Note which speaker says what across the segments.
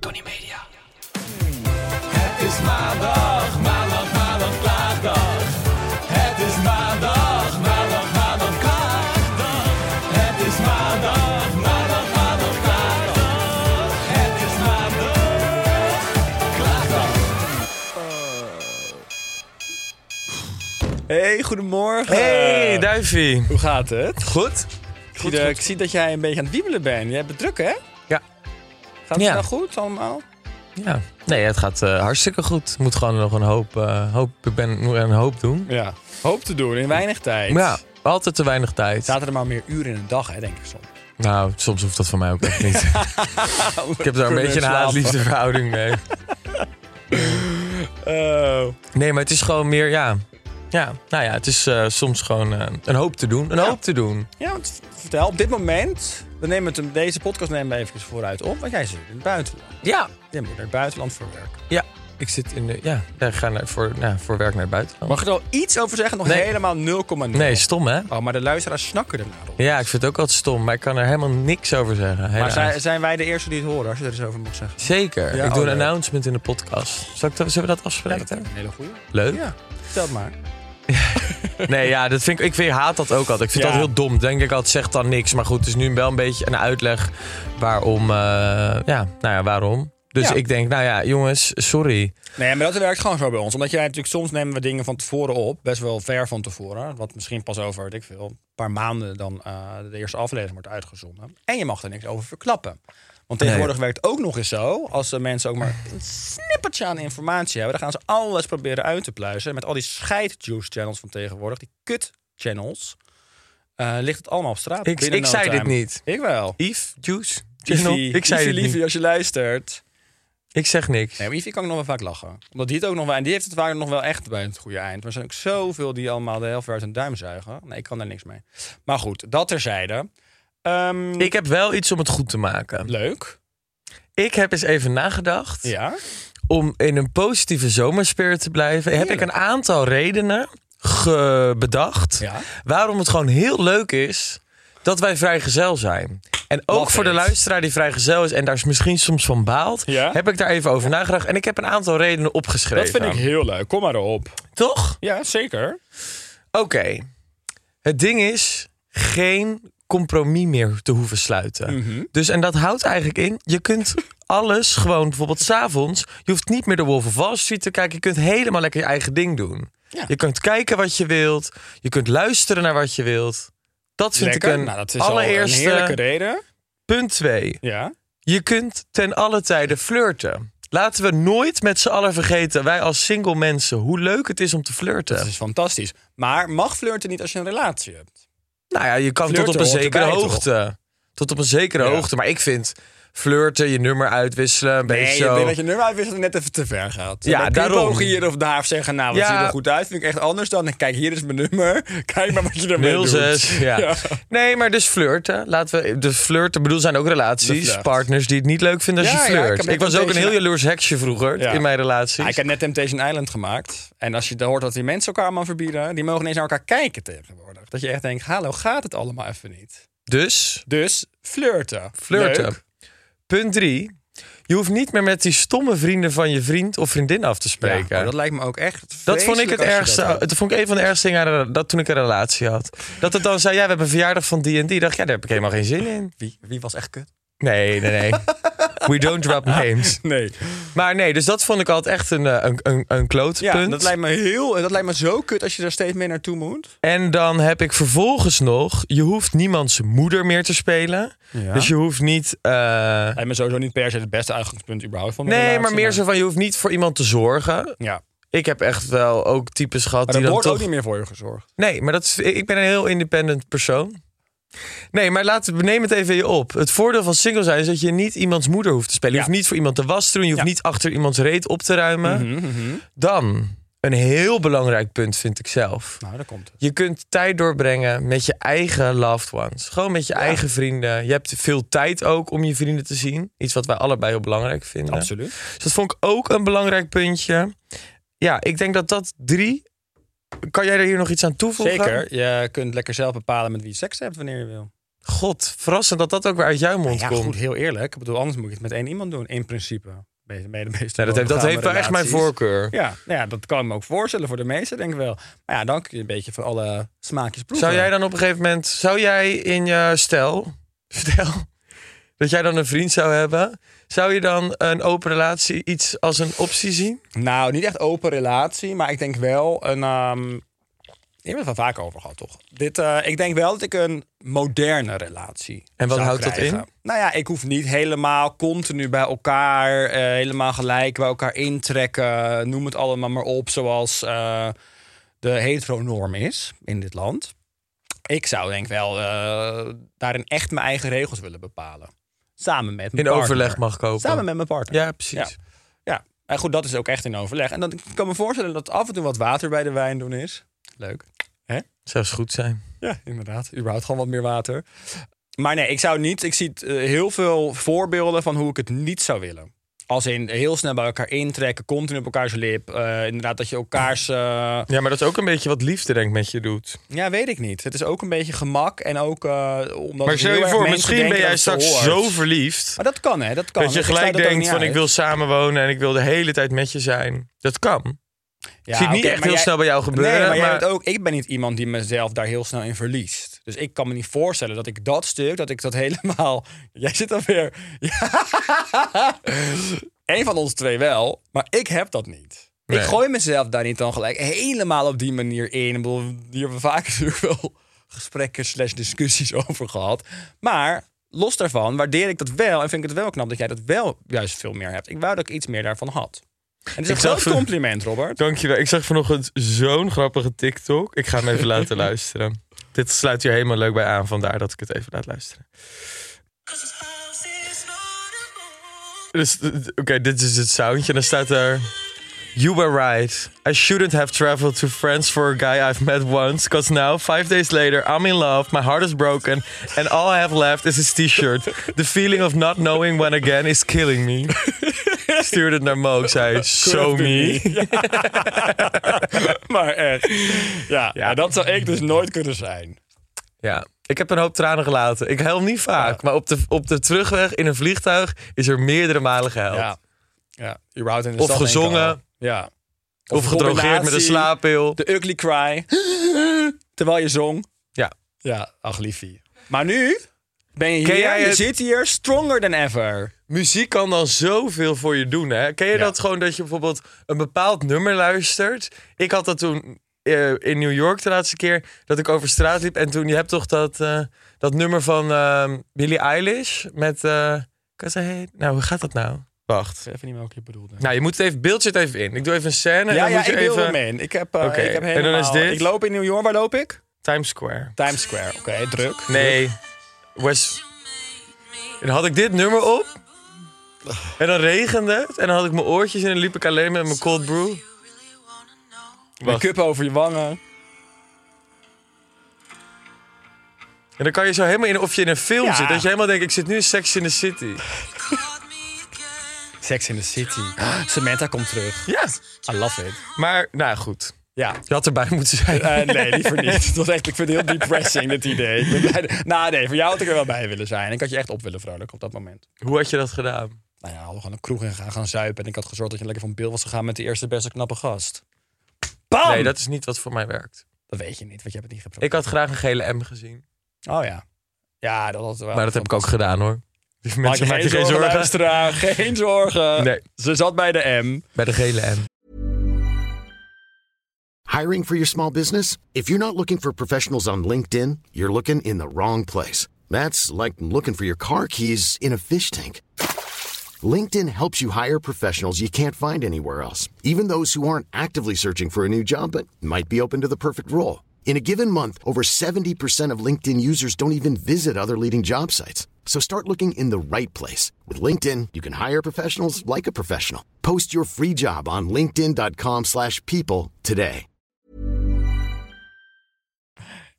Speaker 1: Tony Media. Het is maandag, maandag, maandag, klaagdag. Het is maandag, maandag, maandag, klaagdag. Het is maandag, maandag, maandag, klaagdag. Het is maandag, klaagdag.
Speaker 2: Hey, goedemorgen.
Speaker 3: Hey,
Speaker 2: Eh,
Speaker 3: Duivie.
Speaker 2: Hoe gaat het?
Speaker 3: Goed?
Speaker 2: Ik zie dat- Ik zie dat jij een beetje aan het wiebelen bent. Jij hebt het druk, hè?
Speaker 3: Ja.
Speaker 2: Gaat het
Speaker 3: Ja.
Speaker 2: wel goed allemaal?
Speaker 3: Ja. Nee, het gaat eh, hartstikke goed. Moet gewoon nog een hoop, eh, hoop, ik ben, moet een hoop doen.
Speaker 2: Ja. Hoop te doen in weinig tijd.
Speaker 3: Ja, altijd te weinig tijd.
Speaker 2: Zaten er maar meer uren in een dag, hè, denk ik soms.
Speaker 3: Nou, soms hoeft dat van mij ook echt niet. ik heb daar een
Speaker 2: Kunnen
Speaker 3: beetje een
Speaker 2: slapen.
Speaker 3: haat-liefde verhouding mee.
Speaker 2: Oh.
Speaker 3: Nee, maar het is gewoon meer, ja. Ja, nou ja, het is eh, soms gewoon eh, een hoop te doen. Een hoop te doen.
Speaker 2: Ja, want vertel, op dit moment, we nemen het, hem- deze podcast nemen we even vooruit op, want jij zit in het buitenland.
Speaker 3: Ja.
Speaker 2: Jij moet naar het buitenland voor werk.
Speaker 3: Ja. Ik zit in de, ja, wij gaan naar, voor, nou, voor werk naar het buitenland.
Speaker 2: Mag ik er al iets over zeggen? Nog
Speaker 3: Nee.
Speaker 2: helemaal 0,0.
Speaker 3: Nee, stom hè?
Speaker 2: Oh, maar de luisteraars snakken ernaar op.
Speaker 3: Ja, ik vind het ook altijd stom, maar ik kan er helemaal niks over zeggen.
Speaker 2: Maar
Speaker 3: helaas.
Speaker 2: zijn, zijn wij de eerste die het horen, als je er eens over mag zeggen?
Speaker 3: Zeker.
Speaker 2: Ja,
Speaker 3: ik doe
Speaker 2: oh,
Speaker 3: een
Speaker 2: leuk.
Speaker 3: announcement in de podcast. Zal ik dat, zullen we dat afspreken?
Speaker 2: een hele goeie.
Speaker 3: Leuk.
Speaker 2: Ja, vertel het maar.
Speaker 3: Nee, ja, dat vind ik, ik vind, haat dat ook altijd. Ik vind
Speaker 2: Ja.
Speaker 3: dat heel dom. Denk ik altijd, zegt dan niks. Maar goed, het is nu wel een beetje een uitleg waarom. eh, ja, nou ja, waarom. Dus
Speaker 2: Ja.
Speaker 3: ik denk, nou ja, jongens, sorry.
Speaker 2: Nee, maar dat werkt gewoon zo bij ons. Omdat jij natuurlijk soms nemen we dingen van tevoren op, best wel ver van tevoren. Wat misschien pas over, weet ik veel, een paar maanden dan eh, de eerste aflevering wordt uitgezonden. En je mag er niks over verklappen. Want tegenwoordig werkt het ook nog eens zo, als de mensen ook maar een snippertje aan informatie hebben, dan gaan ze alles proberen uit te pluizen. Met al die scheidjuice channels van tegenwoordig, die kut channels, eh, ligt het allemaal op straat.
Speaker 3: Ik-
Speaker 2: binnen
Speaker 3: ik
Speaker 2: no
Speaker 3: zei
Speaker 2: time.
Speaker 3: dit niet.
Speaker 2: Ik wel.
Speaker 3: Yves, Juice, Channel.
Speaker 2: Ivy,
Speaker 3: Ik zei
Speaker 2: Ivy,
Speaker 3: dit niet.
Speaker 2: liefie, als je luistert.
Speaker 3: Ik zeg niks.
Speaker 2: Nee, maar Ivy kan ik nog wel vaak lachen. Omdat die het ook nog wel... En die heeft het vaak nog wel echt bij het goede eind. Maar er zijn ook zoveel die allemaal de helft uit hun duim zuigen. Nee, ik kan daar niks mee. Maar goed, dat terzijde. Ehm
Speaker 3: Ik heb wel iets om het goed te maken.
Speaker 2: Leuk.
Speaker 3: Ik heb eens even nagedacht.
Speaker 2: Ja.
Speaker 3: om in een positieve zomerspirit te blijven, heb ik
Speaker 2: Heerlijk.
Speaker 3: een aantal redenen ge- bedacht
Speaker 2: Ja.
Speaker 3: waarom het gewoon heel leuk is dat wij vrijgezel zijn. En ook
Speaker 2: Love
Speaker 3: voor de
Speaker 2: it.
Speaker 3: luisteraar die vrijgezel is en daar is misschien soms van baalt,
Speaker 2: Ja.
Speaker 3: heb ik daar even over nagedacht. En ik heb een aantal redenen
Speaker 2: Dat
Speaker 3: opgeschreven.
Speaker 2: vind ik heel leuk. Kom maar op.
Speaker 3: Toch?
Speaker 2: Ja, zeker.
Speaker 3: Oké. Het ding is geen compromis meer te hoeven sluiten.
Speaker 2: Mhm.
Speaker 3: Dus en dat houdt eigenlijk in, je kunt alles gewoon bijvoorbeeld s'avonds, je hoeft niet meer de Wolf of Wall Street te kijken, je kunt helemaal lekker je eigen ding doen.
Speaker 2: Ja.
Speaker 3: Je kunt kijken wat je wilt, je kunt luisteren naar wat je wilt. Dat vind
Speaker 2: Lekker.
Speaker 3: ik een
Speaker 2: nou, dat is
Speaker 3: allereerste
Speaker 2: al een heerlijke reden.
Speaker 3: punt 2.
Speaker 2: Ja.
Speaker 3: Je kunt ten alle tijde flirten. Laten we nooit met z'n allen vergeten, wij als single mensen, hoe leuk het is om te flirten.
Speaker 2: Dat is fantastisch. Maar mag flirten niet als je een relatie hebt?
Speaker 3: Nou ja, je kan
Speaker 2: Flirten
Speaker 3: tot op een
Speaker 2: hoort
Speaker 3: zekere
Speaker 2: erbij, toch?
Speaker 3: hoogte. Tot op een zekere
Speaker 2: Ja.
Speaker 3: hoogte. Maar ik vind flirten, je nummer uitwisselen, een
Speaker 2: Nee,
Speaker 3: beetje
Speaker 2: ik
Speaker 3: zo.
Speaker 2: denk dat je nummer uitwisselt net even te ver gaat.
Speaker 3: Ja,
Speaker 2: Dan kun je
Speaker 3: daarom.
Speaker 2: pogen hier of daar of zeggen, nou, wat
Speaker 3: Ja.
Speaker 2: ziet er goed uit? Vind ik echt anders dan, kijk, hier is mijn nummer. Kijk maar wat je ermee doet.
Speaker 3: 06, ja. Nee, maar dus flirten. Laten we, de flirten, ik bedoel, er zijn ook
Speaker 2: De
Speaker 3: relaties,
Speaker 2: flirt.
Speaker 3: partners die het niet leuk vinden als
Speaker 2: Ja,
Speaker 3: je
Speaker 2: ja, ik
Speaker 3: flirt.
Speaker 2: heb
Speaker 3: ik
Speaker 2: net
Speaker 3: was
Speaker 2: een
Speaker 3: ook een
Speaker 2: beetje-
Speaker 3: heel jaloers heksje vroeger
Speaker 2: Ja.
Speaker 3: in mijn
Speaker 2: Ja, ik
Speaker 3: relaties.
Speaker 2: heb net Temptation Island gemaakt. En als je dan hoort dat die mensen elkaar allemaal verbieden, die mogen ineens naar elkaar kijken tegenwoordig. Dat je echt denkt, hallo, gaat het allemaal even niet?
Speaker 3: Dus
Speaker 2: Dus flirten.
Speaker 3: flirten.
Speaker 2: Leuk.
Speaker 3: Punt 3. Je hoeft niet meer met die stomme vrienden van je vriend of vriendin af te
Speaker 2: Ja,
Speaker 3: spreken.
Speaker 2: maar dat
Speaker 3: dat
Speaker 2: lijkt me ook echt.
Speaker 3: vond ik het
Speaker 2: vreselijk als je
Speaker 3: ergste. Eh,
Speaker 2: dat
Speaker 3: Dat,
Speaker 2: doet.
Speaker 3: vond ik een van de ergste dingen aan een- dat toen ik een relatie had. Dat het dan zei, ja, we hebben een verjaardag van die en die. Dacht, ik, ja, daar heb ik helemaal geen zin in.
Speaker 2: Wie, wie was echt kut?
Speaker 3: Nee, nee, nee. We don't drop names.
Speaker 2: Nee.
Speaker 3: Maar nee, dus dat vond ik altijd echt een, eh, een, een, een klootpunt.
Speaker 2: Ja, dat lijkt me heel. Dat lijkt me zo kut als je daar steeds mee naartoe moet.
Speaker 3: En dan heb ik vervolgens nog, je hoeft niemands moeder meer te spelen.
Speaker 2: Ja.
Speaker 3: Dus je hoeft niet... eh,
Speaker 2: Lijkt me sowieso niet per se het beste uitgangspunt überhaupt van. een
Speaker 3: Nee,
Speaker 2: relatie,
Speaker 3: maar meer zo van, je hoeft niet voor iemand te zorgen.
Speaker 2: Ja.
Speaker 3: Ik heb echt wel ook types gehad
Speaker 2: Maar
Speaker 3: die
Speaker 2: er
Speaker 3: dan
Speaker 2: wordt
Speaker 3: toch...
Speaker 2: ook niet meer voor je gezorgd.
Speaker 3: Nee, maar dat is, ik ben een heel independent persoon. Nee, maar laat, neem het even in je op. Het voordeel van single zijn is dat je niet iemands moeder hoeft te spelen. Je
Speaker 2: Ja.
Speaker 3: hoeft niet voor iemand de was te doen. Je hoeft
Speaker 2: Ja. Mhm,
Speaker 3: niet achter iemands reet op te ruimen. Dan, een heel belangrijk punt vind ik zelf.
Speaker 2: Nou, daar komt het.
Speaker 3: Je kunt tijd doorbrengen met je eigen loved ones. Gewoon met je eigen vrienden. Je hebt veel tijd ook om je vrienden te zien. Iets wat wij allebei heel belangrijk vinden.
Speaker 2: Absoluut.
Speaker 3: Dus dat vond ik ook een belangrijk puntje. Ja, ik denk dat dat drie... Kan jij er hier nog iets aan toevoegen?
Speaker 2: Zeker. Je kunt lekker zelf bepalen met wie je seks hebt wanneer je wil.
Speaker 3: God, verrassend dat dat ook weer uit jouw mond
Speaker 2: Ja,
Speaker 3: komt.
Speaker 2: goed, heel eerlijk. Ik bedoel, anders moet je het met één iemand doen, in principe. Bij de- bij de meeste
Speaker 3: Nee, dat heeft, dat
Speaker 2: monogame
Speaker 3: heeft wel echt mijn
Speaker 2: relaties.
Speaker 3: voorkeur.
Speaker 2: Ja, nou ja, dat kan ik me ook voorstellen voor de meesten, denk ik wel. Maar ja, dan kun je een beetje van alle smaakjes proeven.
Speaker 3: Zou jij dan op een gegeven moment... Zou jij in je stel... Stel dat jij dan een vriend zou hebben... Zou je dan een open relatie iets als een optie zien?
Speaker 2: Nou, niet echt open relatie, maar ik denk wel een... ehm je hebt het wel vaak over gehad, toch? Dit, eh, ik denk wel dat ik een moderne relatie
Speaker 3: En wat
Speaker 2: zou
Speaker 3: houdt dat
Speaker 2: krijgen.
Speaker 3: in?
Speaker 2: Nou ja, ik hoef niet helemaal continu bij elkaar, eh, helemaal gelijk bij elkaar intrekken. Noem het allemaal maar op, zoals eh, de heteronorm is in dit land. Ik zou denk ik wel eh, daarin echt mijn eigen regels willen bepalen. Samen met mijn
Speaker 3: In
Speaker 2: partner.
Speaker 3: overleg mag kopen.
Speaker 2: Samen met mijn partner.
Speaker 3: Ja, precies.
Speaker 2: Ja. Ja, en goed, dat is ook echt in overleg. En dan ik kan me voorstellen dat af en toe wat water bij de wijn doen is. Leuk. Hè?
Speaker 3: Zou eens goed zijn.
Speaker 2: Ja, inderdaad. Überhaupt gewoon wat meer water. Maar nee, ik zou niet. Ik zie het, eh, heel veel voorbeelden van hoe ik het niet zou willen. Als in heel snel bij elkaar intrekken, continu op elkaars lip. eh, inderdaad, dat je elkaars. eh,
Speaker 3: Ja, maar dat is ook een beetje wat liefde denk ik met je doet.
Speaker 2: ja, weet ik niet. Het is ook een beetje gemak. En ook eh, omdat.
Speaker 3: maar
Speaker 2: het
Speaker 3: stel
Speaker 2: heel
Speaker 3: je
Speaker 2: erg
Speaker 3: voor,
Speaker 2: mensen
Speaker 3: misschien
Speaker 2: denken
Speaker 3: ben jij
Speaker 2: dat het
Speaker 3: straks
Speaker 2: zo hoort.
Speaker 3: zo verliefd...
Speaker 2: Maar dat kan, hè? Dat kan.
Speaker 3: dat je
Speaker 2: Ik sluit
Speaker 3: gelijk
Speaker 2: het ook
Speaker 3: denkt
Speaker 2: niet
Speaker 3: van
Speaker 2: uit.
Speaker 3: ik wil samenwonen en ik wil de hele tijd met je zijn. Dat kan.
Speaker 2: Ja,
Speaker 3: Zie ik niet
Speaker 2: oké,
Speaker 3: echt
Speaker 2: maar
Speaker 3: heel snel bij jou gebeuren,
Speaker 2: Nee, maar, jij
Speaker 3: maar-
Speaker 2: weet ook, ik ben niet iemand die mezelf daar heel snel in verliest. Dus ik kan me niet voorstellen dat ik dat stuk, dat ik dat helemaal... Jij zit alweer... Ja. Eén van ons twee wel, maar ik heb dat niet.
Speaker 3: Nee.
Speaker 2: Ik gooi mezelf daar niet dan gelijk helemaal op die manier in. Ik bedoel, hier hebben we vaak natuurlijk wel gesprekken slash discussies over gehad. Maar los daarvan waardeer ik dat wel en vind ik het wel knap dat jij dat wel juist veel meer hebt. Ik wou dat ik iets meer daarvan had. En het is
Speaker 3: Ik
Speaker 2: een
Speaker 3: zag
Speaker 2: groot
Speaker 3: van-
Speaker 2: compliment, Robert.
Speaker 3: Dankjewel. Ik zag vanochtend zo'n grappige TikTok. Ik ga hem even laten luisteren. Dit sluit hier helemaal leuk bij aan, vandaar dat ik het even laat luisteren. Dus, eh, Oké, dit is het soundje. En dan staat er... You were right. I shouldn't have traveled to France for a guy I've met once. Because now, five days later, I'm in love. My heart is broken. And all I have left is his t-shirt. The feeling of not knowing when again is killing me. Stuurde het naar Mo. Ik zei, so me.
Speaker 2: maar echt. Ja, ja, dat zou ik dus nooit kunnen zijn.
Speaker 3: Ja, ik heb een hoop tranen gelaten. Ik huil niet vaak, maar op de, op de terugweg in een vliegtuig is er meerdere malen gehuild.
Speaker 2: Ja. ja. überhaupt in de
Speaker 3: Of
Speaker 2: stad denk ik
Speaker 3: gezongen.
Speaker 2: al. Ja.
Speaker 3: Of gedrogeerd met een
Speaker 2: combinatie,
Speaker 3: slaappil.
Speaker 2: De ugly cry. Terwijl je zong.
Speaker 3: Ja.
Speaker 2: Ja, ach liefie. Maar nu ben je
Speaker 3: Ken
Speaker 2: hier,
Speaker 3: jij
Speaker 2: je
Speaker 3: het-
Speaker 2: zit hier stronger than ever.
Speaker 3: Muziek kan dan zoveel voor je doen, hè? Ken je
Speaker 2: Ja.
Speaker 3: dat gewoon dat je bijvoorbeeld een bepaald nummer luistert? Ik had dat toen eh, in New York de laatste keer dat ik over straat liep. En toen, je hebt toch dat, eh, dat nummer van eh, Billie Eilish met... eh, 'Cause I hate- Nou, hoe gaat dat nou? Wacht.
Speaker 2: Even niet meer wat je bedoelde.
Speaker 3: Nou, je moet het even, beeld je het even in. Ik doe even een scène en
Speaker 2: ja,
Speaker 3: dan
Speaker 2: ja,
Speaker 3: moet je
Speaker 2: ik wil
Speaker 3: even...
Speaker 2: hem in. Ik heb, eh,
Speaker 3: Oké,
Speaker 2: ik heb
Speaker 3: en dan is
Speaker 2: helemaal...
Speaker 3: dit?
Speaker 2: Ik loop in New York. Waar loop ik?
Speaker 3: Times Square.
Speaker 2: Times Square. Oké, druk.
Speaker 3: Nee, West. En dan had ik dit nummer op. En dan regende het. En dan had ik mijn oortjes in en liep ik alleen met mijn cold brew. Wacht.
Speaker 2: Make-up over je wangen.
Speaker 3: En dan kan je zo helemaal in of je in een film
Speaker 2: Ja.
Speaker 3: zit. Dat je helemaal denkt, ik zit nu in Sex in the City.
Speaker 2: Sex in the City. Samantha komt terug.
Speaker 3: Ja.
Speaker 2: I love it.
Speaker 3: Maar, nou goed.
Speaker 2: Ja.
Speaker 3: Je had erbij moeten zijn.
Speaker 2: Eh, nee, liever niet. Het was echt, ik vind het heel depressing, dit idee. Ik ben blij- nou nee, voor jou had ik er wel bij willen zijn. Ik had je echt op willen vrolijk op dat moment.
Speaker 3: Hoe had je dat gedaan?
Speaker 2: Nou ja, hadden we gewoon een kroeg in gaan, gaan zuipen. En ik had gezorgd dat je lekker van beeld was gegaan met de eerste beste knappe gast. Bam!
Speaker 3: Nee, dat is niet wat voor mij werkt.
Speaker 2: Dat weet je niet, want je hebt het niet geprobeerd.
Speaker 3: Ik had graag een gele M gezien.
Speaker 2: Oh ja. Ja, dat had wel.
Speaker 3: Maar dat heb ik ook gedaan hoor. Die
Speaker 2: Maak je
Speaker 3: mensen
Speaker 2: geen
Speaker 3: maken
Speaker 2: zorgen,
Speaker 3: geen zorgen.
Speaker 2: luisteraar. Geen zorgen.
Speaker 3: Nee.
Speaker 2: Ze zat bij de M.
Speaker 3: Bij de gele M.
Speaker 4: Hiring for your small business? If you're not looking for professionals on LinkedIn, you're looking in the wrong place. That's like looking for your car keys in a fish tank. LinkedIn helps you hire professionals you can't find anywhere else, even those who aren't actively searching for a new job but might be open to the perfect role. In a given month, over 70% of LinkedIn users don't even visit other leading job sites. So start looking in the right place. With LinkedIn, you can hire professionals like a professional. Post your free job on linkedin.com/people slash people today.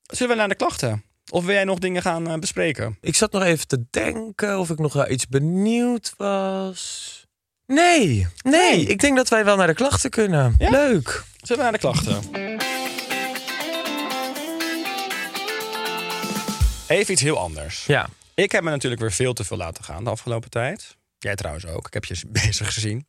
Speaker 2: Zullen we naar de klachten? Of wil jij nog dingen gaan eh, bespreken?
Speaker 3: Ik zat nog even te denken of ik nog wel iets benieuwd was. Nee, nee. Ik denk dat wij wel naar de klachten kunnen.
Speaker 2: Ja?
Speaker 3: Leuk.
Speaker 2: Zullen we naar de klachten? Even iets heel anders.
Speaker 3: Ja.
Speaker 2: Ik heb me natuurlijk weer veel te veel laten gaan de afgelopen tijd. Jij trouwens ook. Ik heb je bezig gezien.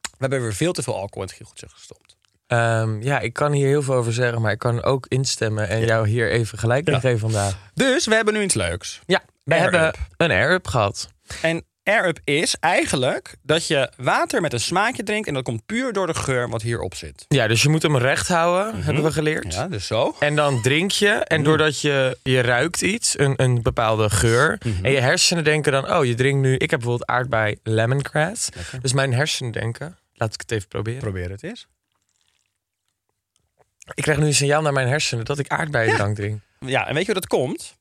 Speaker 2: We hebben weer veel te veel alcohol in het giecheltje gestopt.
Speaker 3: Ehm, ja, ik kan hier heel veel over zeggen, maar ik kan ook instemmen en jou hier even gelijk in geven vandaag.
Speaker 2: Dus we hebben nu iets leuks.
Speaker 3: Ja, we
Speaker 2: Air-up.
Speaker 3: hebben een air-up gehad.
Speaker 2: En air-up is eigenlijk dat je water met een smaakje drinkt... en dat komt puur door de geur wat hierop zit.
Speaker 3: Ja, dus je moet hem recht houden, hebben we geleerd.
Speaker 2: Ja, dus zo.
Speaker 3: En dan drink je. En doordat je, je ruikt iets, een, een bepaalde geur. En je hersenen denken dan, oh, je drinkt nu... Ik heb bijvoorbeeld aardbei lemongrass. Dus mijn hersenen denken... Laat ik het even proberen.
Speaker 2: Probeer het eens.
Speaker 3: ik krijg nu een signaal naar mijn hersenen dat ik aardbeiendrank drink.
Speaker 2: Ja, en weet je hoe dat komt?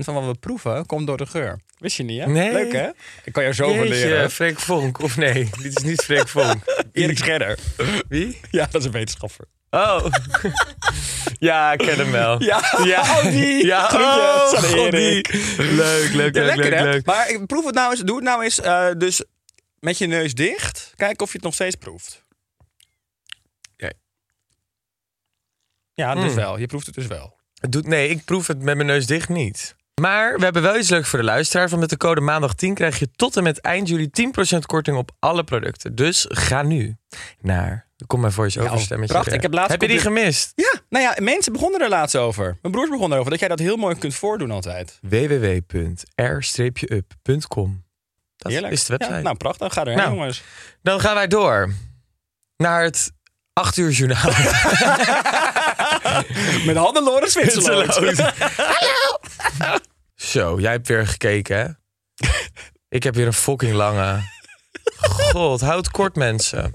Speaker 2: 80% van wat we proeven komt door de geur. Wist je niet, hè?
Speaker 3: Nee.
Speaker 2: Leuk, hè? Ik kan jou zo
Speaker 3: Jeetje,
Speaker 2: van leren.
Speaker 3: Freek Vonk. Of nee, dit is niet Freek Vonk.
Speaker 2: Erik Scherder.
Speaker 3: Wie?
Speaker 2: Ja, dat is een wetenschapper.
Speaker 3: Oh. ja, ik ken hem wel.
Speaker 2: Ja, oh, die.
Speaker 3: Ja,
Speaker 2: Groetjes
Speaker 3: oh,
Speaker 2: aan
Speaker 3: god,
Speaker 2: Erik.
Speaker 3: die. Leuk, leuk,
Speaker 2: Ja,
Speaker 3: leuk,
Speaker 2: lekker,
Speaker 3: leuk,
Speaker 2: hè?
Speaker 3: leuk.
Speaker 2: Maar ik- proef het nou eens. Doe het nou eens eh, dus met je neus dicht. Kijk of je het nog steeds proeft.
Speaker 3: Ja. Hmm.
Speaker 2: Ja, dus wel. Je proeft het dus wel.
Speaker 3: Het doet, nee, ik proef het met mijn neus dicht niet. Maar we hebben wel iets leuks voor de luisteraar. Want met de code maandag 10 krijg je tot en met eind juli 10% korting op alle producten. Dus ga nu naar... Kom mijn voice-over
Speaker 2: Ja, oh,
Speaker 3: stemmetje.
Speaker 2: prachtig.
Speaker 3: er.
Speaker 2: Ik heb laatst
Speaker 3: heb je die
Speaker 2: op de-
Speaker 3: gemist?
Speaker 2: Ja, nou ja, mensen begonnen er laatst over. Mijn broers begonnen erover. Dat jij dat heel mooi kunt voordoen altijd.
Speaker 3: www.r-up.com Dat
Speaker 2: Heerlijk.
Speaker 3: is de website.
Speaker 2: Ja, nou, prachtig. Ga erheen,
Speaker 3: Nou.
Speaker 2: jongens.
Speaker 3: Dan gaan wij door naar het 8 uur journaal.
Speaker 2: Met handen Loren Zwitserland.
Speaker 3: Zo, jij hebt weer gekeken, hè? Ik heb weer een fucking lange. God, houd kort, mensen.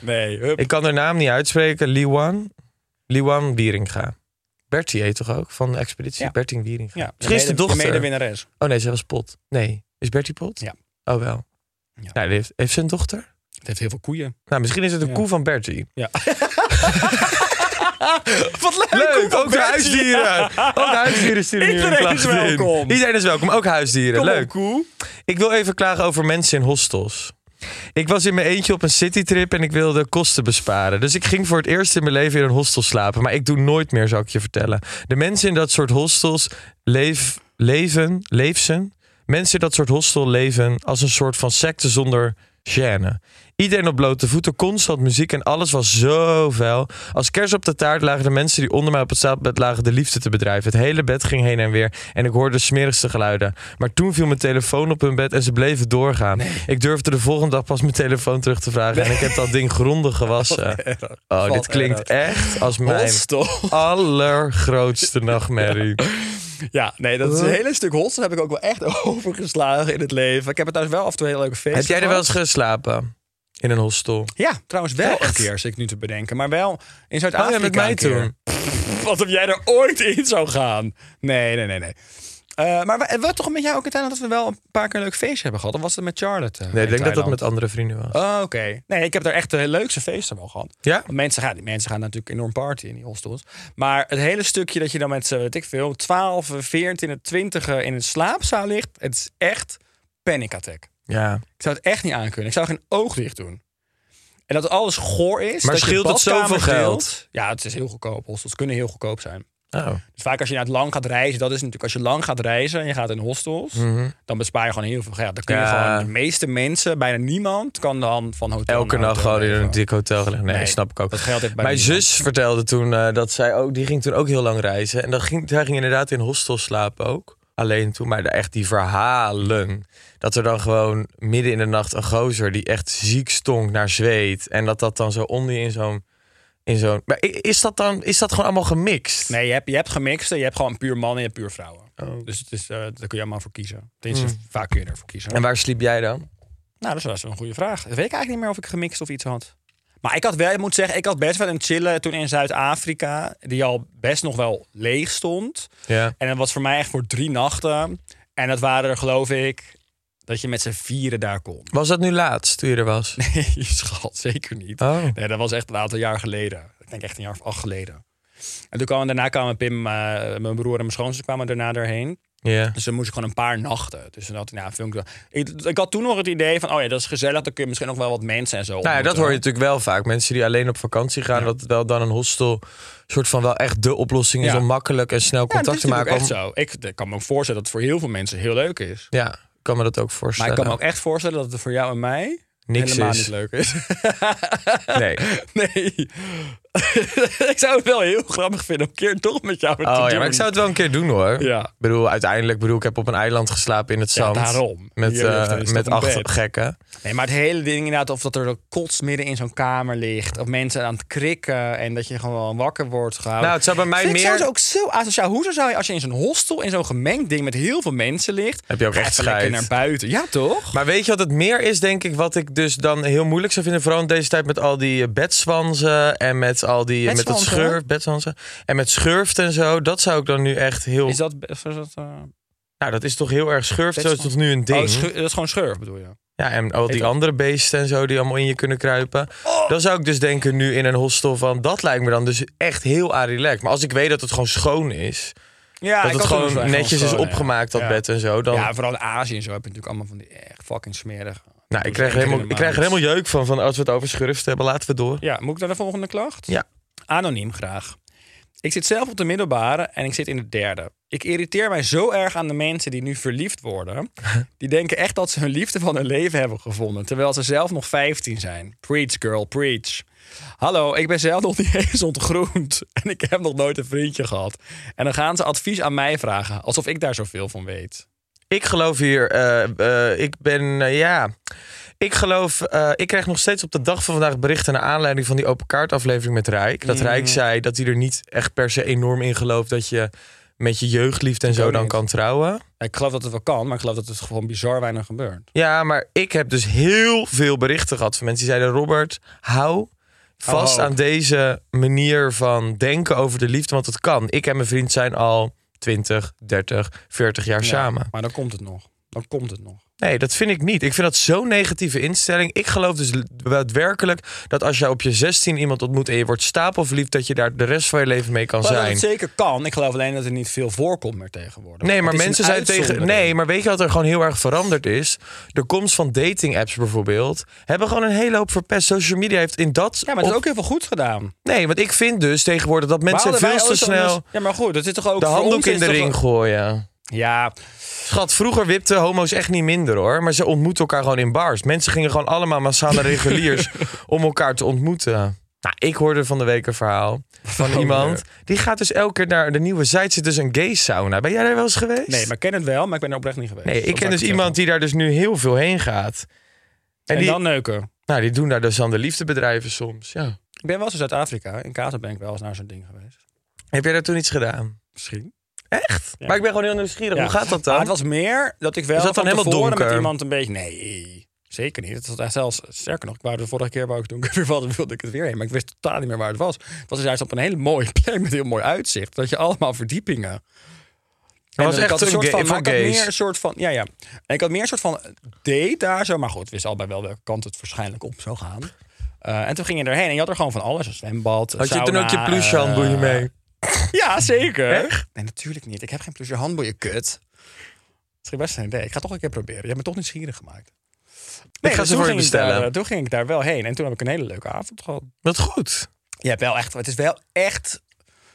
Speaker 2: Nee, hup.
Speaker 3: Ik kan haar naam niet uitspreken. Liwan. Liwan Wieringa. Bertie heet toch ook? Van de expeditie?
Speaker 2: Ja.
Speaker 3: Bertie Wieringa.
Speaker 2: Ja,
Speaker 3: Misschien is de
Speaker 2: mede-
Speaker 3: dochter.
Speaker 2: medewinnares.
Speaker 3: oh nee, ze was Pot. Nee, is Bertie Pot?
Speaker 2: Ja.
Speaker 3: Oh wel.
Speaker 2: Ja.
Speaker 3: Nou, die heeft, heeft ze een dochter?
Speaker 2: Het heeft heel veel koeien.
Speaker 3: Nou, misschien is het een
Speaker 2: Ja.
Speaker 3: koe van Bertie.
Speaker 2: Ja. Wat leuk! koe
Speaker 3: Leuk,
Speaker 2: van
Speaker 3: ook de
Speaker 2: Bertie.
Speaker 3: huisdieren. Ook de huisdieren sturen nu hun
Speaker 2: Iedereen is
Speaker 3: klachten in.
Speaker 2: welkom.
Speaker 3: Iedereen is welkom, ook huisdieren.
Speaker 2: Kom op,
Speaker 3: Leuk.
Speaker 2: koe.
Speaker 3: Ik wil even klagen over mensen in hostels. Ik was in mijn eentje op een citytrip en ik wilde kosten besparen. Dus ik ging voor het eerst in mijn leven in een hostel slapen. Maar ik doe nooit meer, zou ik je vertellen. De mensen in dat soort hostels leef, leven, leefsen. Mensen in dat soort hostel leven als een soort van secte zonder gêne. Iedereen op blote voeten, constant muziek en alles was zo vuil. Als kerst op de taart lagen de mensen die onder mij op het slaapbed lagen de liefde te bedrijven. Het hele bed ging heen en weer en ik hoorde de smerigste geluiden. Maar toen viel mijn telefoon op hun bed en ze bleven doorgaan. Ik durfde de volgende dag pas mijn telefoon terug te vragen en ik heb dat ding grondig gewassen. Oh, dit klinkt echt als mijn
Speaker 2: Hostel.
Speaker 3: allergrootste nachtmerrie.
Speaker 2: Ja, nee, dat is een hele stuk hostel heb ik ook wel echt overgeslagen in het leven. Ik heb het trouwens wel af en toe heel leuke feesten
Speaker 3: Heb jij er wel eens
Speaker 2: gehad.
Speaker 3: geslapen? In een hostel?
Speaker 2: Ja, trouwens wel een
Speaker 3: Echt?
Speaker 2: keer, zit ik nu te bedenken. Maar wel in
Speaker 3: Oh
Speaker 2: Zuid-Afrika
Speaker 3: ja, met mij
Speaker 2: een keer.
Speaker 3: toen.
Speaker 2: Wat of jij er ooit in zou gaan? Nee, nee, nee, nee. Eh, maar we, we toch met jou ook uiteindelijk dat we wel een paar keer een leuk feestje hebben gehad. Of was dat met Charlotte? eh,
Speaker 3: Nee, ik
Speaker 2: in
Speaker 3: denk dat dat
Speaker 2: Thailand?
Speaker 3: met andere vrienden was.
Speaker 2: Oh, oké. Nee, ik heb daar echt de leukste feesten wel gehad.
Speaker 3: Ja?
Speaker 2: Want mensen gaan, die mensen gaan natuurlijk enorm party in die hostels. Maar het hele stukje dat je dan met z'n, weet ik veel, 12, 14, 20 in een slaapzaal ligt, het is echt panic attack.
Speaker 3: Ja.
Speaker 2: Ik zou het echt niet aankunnen. Ik zou geen oog dicht doen. En dat alles goor is.
Speaker 3: Maar
Speaker 2: dat je
Speaker 3: scheelt het zoveel
Speaker 2: badkamers
Speaker 3: geld?
Speaker 2: deelt. Ja, het is heel goedkoop. Hostels kunnen heel goedkoop zijn.
Speaker 3: Oh.
Speaker 2: Dus vaak als je naar het lang gaat reizen, dat is natuurlijk als je lang gaat reizen en je gaat in hostels, dan bespaar je gewoon heel veel geld. Dan kun je
Speaker 3: Mhm. Ja.
Speaker 2: gewoon de meeste mensen, bijna niemand, kan dan van hotel.
Speaker 3: Elke
Speaker 2: naar
Speaker 3: nacht
Speaker 2: hotel
Speaker 3: gewoon in
Speaker 2: leven.
Speaker 3: een dik hotel gelegen. Nee,
Speaker 2: Nee,
Speaker 3: snap ik ook.
Speaker 2: dat geldt echt bij
Speaker 3: Mijn
Speaker 2: niemand.
Speaker 3: zus vertelde toen eh, dat zij ook, die ging toen ook heel lang reizen. En dat ging, zij ging inderdaad in hostel slapen ook. Alleen toen, maar echt die verhalen. Dat er dan gewoon midden in de nacht een gozer die echt ziek stonk naar zweet. En dat dat dan zo onder je in zo'n. In zo'n. maar i- is dat dan is dat gewoon allemaal gemixt?
Speaker 2: Nee, je hebt, je hebt gemixte, je hebt gewoon puur mannen en je hebt puur vrouwen.
Speaker 3: Oh.
Speaker 2: Dus het is, eh, daar kun je allemaal voor kiezen. Tenminste, vaak kun je ervoor kiezen.
Speaker 3: Mm. En waar sliep jij dan?
Speaker 2: Nou, dat was wel een goede vraag. Dat weet ik eigenlijk niet meer of ik gemixt of iets had. Maar ik had wel, ik moet zeggen, ik had best wel een chille toen in Zuid-Afrika, die al best nog wel leeg stond.
Speaker 3: Ja.
Speaker 2: En dat was voor mij echt voor drie nachten. En dat waren er, geloof ik, dat je met z'n vieren daar kon.
Speaker 3: Was dat nu laatst toen je er was?
Speaker 2: Nee, schat, zeker niet.
Speaker 3: Oh.
Speaker 2: Nee, dat was echt een aantal jaar geleden. Ik denk echt een jaar of acht geleden. En toen kwamen, daarna kwamen Pim, eh, mijn broer en mijn schoonzus kwamen daarna daarheen.
Speaker 3: Ja.
Speaker 2: Dus dan moest ik gewoon een paar nachten. Dus dan had ik, nou, vind ik, wel- ik, ik had toen nog het idee van, oh ja, dat is gezellig. Dan kun je misschien nog wel wat mensen en zo
Speaker 3: Nou ja, dat
Speaker 2: ontmoeten.
Speaker 3: hoor je natuurlijk wel vaak. Mensen die alleen op vakantie gaan, dat het wel dan een hostel soort van wel echt de oplossing is
Speaker 2: Ja.
Speaker 3: om makkelijk en snel
Speaker 2: Ja,
Speaker 3: contact te maken.
Speaker 2: Dat is
Speaker 3: om-
Speaker 2: natuurlijk ook echt zo. Ik, ik kan me ook voorstellen dat het voor heel veel mensen heel leuk is.
Speaker 3: Ja, ik kan me dat ook
Speaker 2: Maar
Speaker 3: voorstellen.
Speaker 2: ik kan me ook echt voorstellen dat het voor jou en mij
Speaker 3: Niks
Speaker 2: helemaal
Speaker 3: is.
Speaker 2: niet leuk is.
Speaker 3: Nee.
Speaker 2: Nee. ik zou het wel heel grappig vinden om een keer toch met jou te
Speaker 3: Oh ja,
Speaker 2: doen.
Speaker 3: maar ik zou het wel een keer doen hoor.
Speaker 2: Ja.
Speaker 3: Ik bedoel, uiteindelijk bedoel ik heb op een eiland geslapen in het zand.
Speaker 2: daarom.
Speaker 3: Met,
Speaker 2: Hier
Speaker 3: eh,
Speaker 2: ligt er eens
Speaker 3: met
Speaker 2: op een
Speaker 3: acht
Speaker 2: bed.
Speaker 3: gekken.
Speaker 2: Nee, maar het hele ding inderdaad, of dat er een kots midden in zo'n kamer ligt... of mensen aan het krikken en dat je gewoon wakker wordt gehouden.
Speaker 3: Nou, het zou bij mij
Speaker 2: Vind ik
Speaker 3: meer-
Speaker 2: trouwens ook zo asociaal. Hoezo zou je als je in zo'n hostel, in zo'n gemengd ding met heel veel mensen ligt...
Speaker 3: Heb je ook
Speaker 2: ga
Speaker 3: echt
Speaker 2: even lekker
Speaker 3: scheid.
Speaker 2: naar buiten. Ja, toch?
Speaker 3: Maar weet je wat het meer is, denk ik, wat ik dus dan heel moeilijk zou vinden, vooral in deze tijd met al die eh, bedswanzen en met al die met dat
Speaker 2: Bedswanzen?
Speaker 3: schurf, bedswanzen en met schurft en zo. Dat zou ik dan nu echt heel.
Speaker 2: Is dat... Is dat eh,
Speaker 3: Nou, dat is toch heel erg schurft. Zo is
Speaker 2: bedswanzen?
Speaker 3: tot nu een ding.
Speaker 2: Oh, scheur- dat is gewoon schurf, bedoel je?
Speaker 3: Ja, en al die
Speaker 2: dat?
Speaker 3: andere beesten en zo die allemaal in je kunnen kruipen.
Speaker 2: Oh!
Speaker 3: Dan zou ik dus denken nu in een hostel van... dat lijkt me dan dus echt heel arilac. Maar als ik weet dat het gewoon schoon is...
Speaker 2: Ja,
Speaker 3: dat het gewoon netjes is opgemaakt, dat
Speaker 2: bed.
Speaker 3: bed en zo... dan...
Speaker 2: dus Ja, vooral in Azië en zo heb je natuurlijk allemaal van die echt fucking smerige.
Speaker 3: nou, ik krijg, er helemaal, ik krijg er helemaal jeuk van, van als we het over schurft hebben, laten we door.
Speaker 2: Ja, moet ik naar de volgende klacht?
Speaker 3: Ja.
Speaker 2: Anoniem graag. Ik zit zelf op de middelbare en ik zit in de derde. Ik irriteer mij zo erg aan de mensen die nu verliefd worden. Die denken echt dat ze hun liefde van hun leven hebben gevonden. Terwijl ze zelf nog 15 zijn. Preach, girl, preach. Hallo, ik ben zelf nog niet eens ontgroend. En ik heb nog nooit een vriendje gehad. En dan gaan ze advies aan mij vragen. Alsof ik daar zoveel van weet.
Speaker 3: Ik geloof hier, eh, eh, ik ben, eh, ja... Ik geloof, eh, ik krijg nog steeds op de dag van vandaag berichten... naar aanleiding van die open kaart aflevering met Rijk. Dat Rijk zei dat hij er niet echt per se enorm in gelooft... dat je met je jeugdliefde en zo
Speaker 2: ook
Speaker 3: dan
Speaker 2: niet.
Speaker 3: kan trouwen.
Speaker 2: Ik geloof dat het wel kan, maar ik geloof dat het gewoon bizar weinig gebeurt.
Speaker 3: Ja, maar ik heb dus heel veel berichten gehad van mensen die zeiden: Robert, hou vast
Speaker 2: hoop.
Speaker 3: aan deze manier van denken over de liefde, want het kan. Ik en mijn vriend zijn al 20, 30, 40 jaar samen.
Speaker 2: Maar dan komt het nog. Dan komt het nog.
Speaker 3: Nee, dat vind ik niet. Ik vind dat zo'n negatieve instelling. Ik geloof dus daadwerkelijk dat als jij op je 16 iemand ontmoet en je wordt stapelverliefd, dat je daar de rest van je leven mee kan
Speaker 2: Maar dat
Speaker 3: zijn.
Speaker 2: het zeker kan. Ik geloof alleen dat er niet veel voorkomt meer tegenwoordig.
Speaker 3: Nee, maar
Speaker 2: Het is
Speaker 3: mensen
Speaker 2: een
Speaker 3: zijn tegen.
Speaker 2: uitzondering.
Speaker 3: Nee, maar weet je wat er gewoon heel erg veranderd is? De komst van dating apps bijvoorbeeld hebben gewoon een hele hoop verpest. Social media heeft in dat.
Speaker 2: Ja, maar het is
Speaker 3: op-
Speaker 2: ook heel veel goed gedaan.
Speaker 3: Nee, want ik vind dus tegenwoordig dat mensen
Speaker 2: Maar hadden
Speaker 3: veel
Speaker 2: wij
Speaker 3: te
Speaker 2: ooit
Speaker 3: snel
Speaker 2: anders- Ja, maar goed, dat is toch ook
Speaker 3: de
Speaker 2: voor ons
Speaker 3: handdoek in
Speaker 2: is
Speaker 3: de
Speaker 2: toch-
Speaker 3: ring gooien.
Speaker 2: Ja,
Speaker 3: Schat, vroeger wipten homo's echt niet minder hoor. Maar ze ontmoeten elkaar gewoon in bars. Mensen gingen gewoon allemaal massaal naar reguliers om elkaar te ontmoeten. Nou, ik hoorde van de week een verhaal van
Speaker 2: Oh,
Speaker 3: iemand. Die gaat dus elke keer naar de nieuwe zijde. Zit dus een gay sauna. Ben jij daar wel eens geweest?
Speaker 2: nee, maar ik ken het wel, maar ik ben er oprecht niet geweest.
Speaker 3: Nee,
Speaker 2: Dat
Speaker 3: ik ken
Speaker 2: laat
Speaker 3: dus
Speaker 2: het
Speaker 3: iemand
Speaker 2: zeggen.
Speaker 3: die daar dus nu heel veel heen gaat. En,
Speaker 2: En,
Speaker 3: die,
Speaker 2: dan neuken.
Speaker 3: nou, die doen daar dus aan de liefdebedrijven soms. Ja.
Speaker 2: Ik ben wel eens in Zuid-Afrika. In Kaza ben ik wel eens naar zo'n ding geweest.
Speaker 3: Heb jij daar toen iets gedaan?
Speaker 2: Misschien.
Speaker 3: Echt? Maar ik ben gewoon heel nieuwsgierig. Hoe gaat dat dan?
Speaker 2: Maar het was meer dat ik wel
Speaker 3: Is dat
Speaker 2: van
Speaker 3: dan helemaal
Speaker 2: tevoren
Speaker 3: donker?
Speaker 2: met iemand een beetje... Nee, zeker niet. Het was echt zelfs, sterker nog, ik wou de vorige keer wou ik doen. Weer wat, dan wilde ik het weer heen. Maar ik wist totaal niet meer waar het was. Het was dus juist op een hele mooie plek met heel mooi uitzicht. Dat je allemaal verdiepingen.
Speaker 3: Dat
Speaker 2: En
Speaker 3: was
Speaker 2: ik
Speaker 3: echt
Speaker 2: had een soort van,
Speaker 3: voor
Speaker 2: maar ik had meer
Speaker 3: gays.
Speaker 2: een soort van, ja, ja. En ik had meer een soort van date daar zo, maar goed, wist al bij welke kant het waarschijnlijk op zou gaan. Eh, en toen ging je erheen en je had er gewoon van alles, een zwembad, een
Speaker 3: Had je toen ook je
Speaker 2: sauna,
Speaker 3: pluche
Speaker 2: eh,
Speaker 3: handboeien mee?
Speaker 2: ja, zeker.
Speaker 3: Echt?
Speaker 2: Nee, natuurlijk niet. Ik heb geen pluche handboeien, kut. Het is best een idee. Ik ga het toch een keer proberen. Je hebt me toch nieuwsgierig gemaakt. Nee,
Speaker 3: ga
Speaker 2: dus
Speaker 3: ze
Speaker 2: toen
Speaker 3: voor je
Speaker 2: ging ik daar,
Speaker 3: bestellen.
Speaker 2: eh, toen ging ik daar wel heen en toen heb ik een hele leuke avond gehad.
Speaker 3: Wat goed.
Speaker 2: Je hebt wel echt, het is wel echt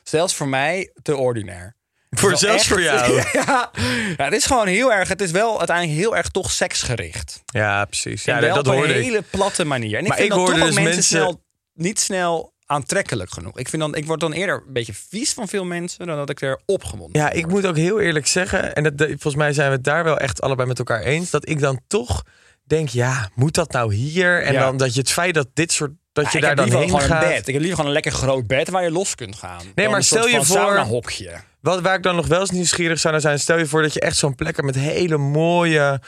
Speaker 2: Zelfs voor mij te ordinair.
Speaker 3: Voor
Speaker 2: Wel
Speaker 3: zelfs
Speaker 2: echt-
Speaker 3: voor jou.
Speaker 2: ja. ja, het is gewoon heel erg. Het is wel uiteindelijk heel erg toch seksgericht.
Speaker 3: Ja, precies. Ja,
Speaker 2: en wel
Speaker 3: dat
Speaker 2: op een
Speaker 3: hoorde ik.
Speaker 2: hele platte manier. En ik
Speaker 3: Maar
Speaker 2: vind
Speaker 3: ik
Speaker 2: dan
Speaker 3: hoorde
Speaker 2: toch ook
Speaker 3: dus
Speaker 2: mensen,
Speaker 3: mensen-
Speaker 2: snel, niet snel aantrekkelijk genoeg. Ik, vind dan, ik word dan eerder een beetje vies van veel mensen dan dat ik er opgewonden
Speaker 3: Ja,
Speaker 2: van
Speaker 3: ik
Speaker 2: word.
Speaker 3: moet ook heel eerlijk zeggen, en dat, dat- volgens mij zijn we het daar wel echt allebei met elkaar eens, dat ik dan toch denk, ja, moet dat nou hier? En
Speaker 2: Ja.
Speaker 3: dan dat je het feit dat dit soort, dat
Speaker 2: Ja,
Speaker 3: je
Speaker 2: Ah, ik
Speaker 3: daar
Speaker 2: heb
Speaker 3: dan
Speaker 2: liever
Speaker 3: heen
Speaker 2: gewoon
Speaker 3: gaat.
Speaker 2: een bed. Ik heb liever gewoon een lekker groot bed waar je los kunt gaan. Nee,
Speaker 3: maar stel je voor-
Speaker 2: Een hokje.
Speaker 3: Wat, waar ik dan nog wel eens nieuwsgierig zou naar zijn, stel je voor dat je echt zo'n plek hebt met hele mooie,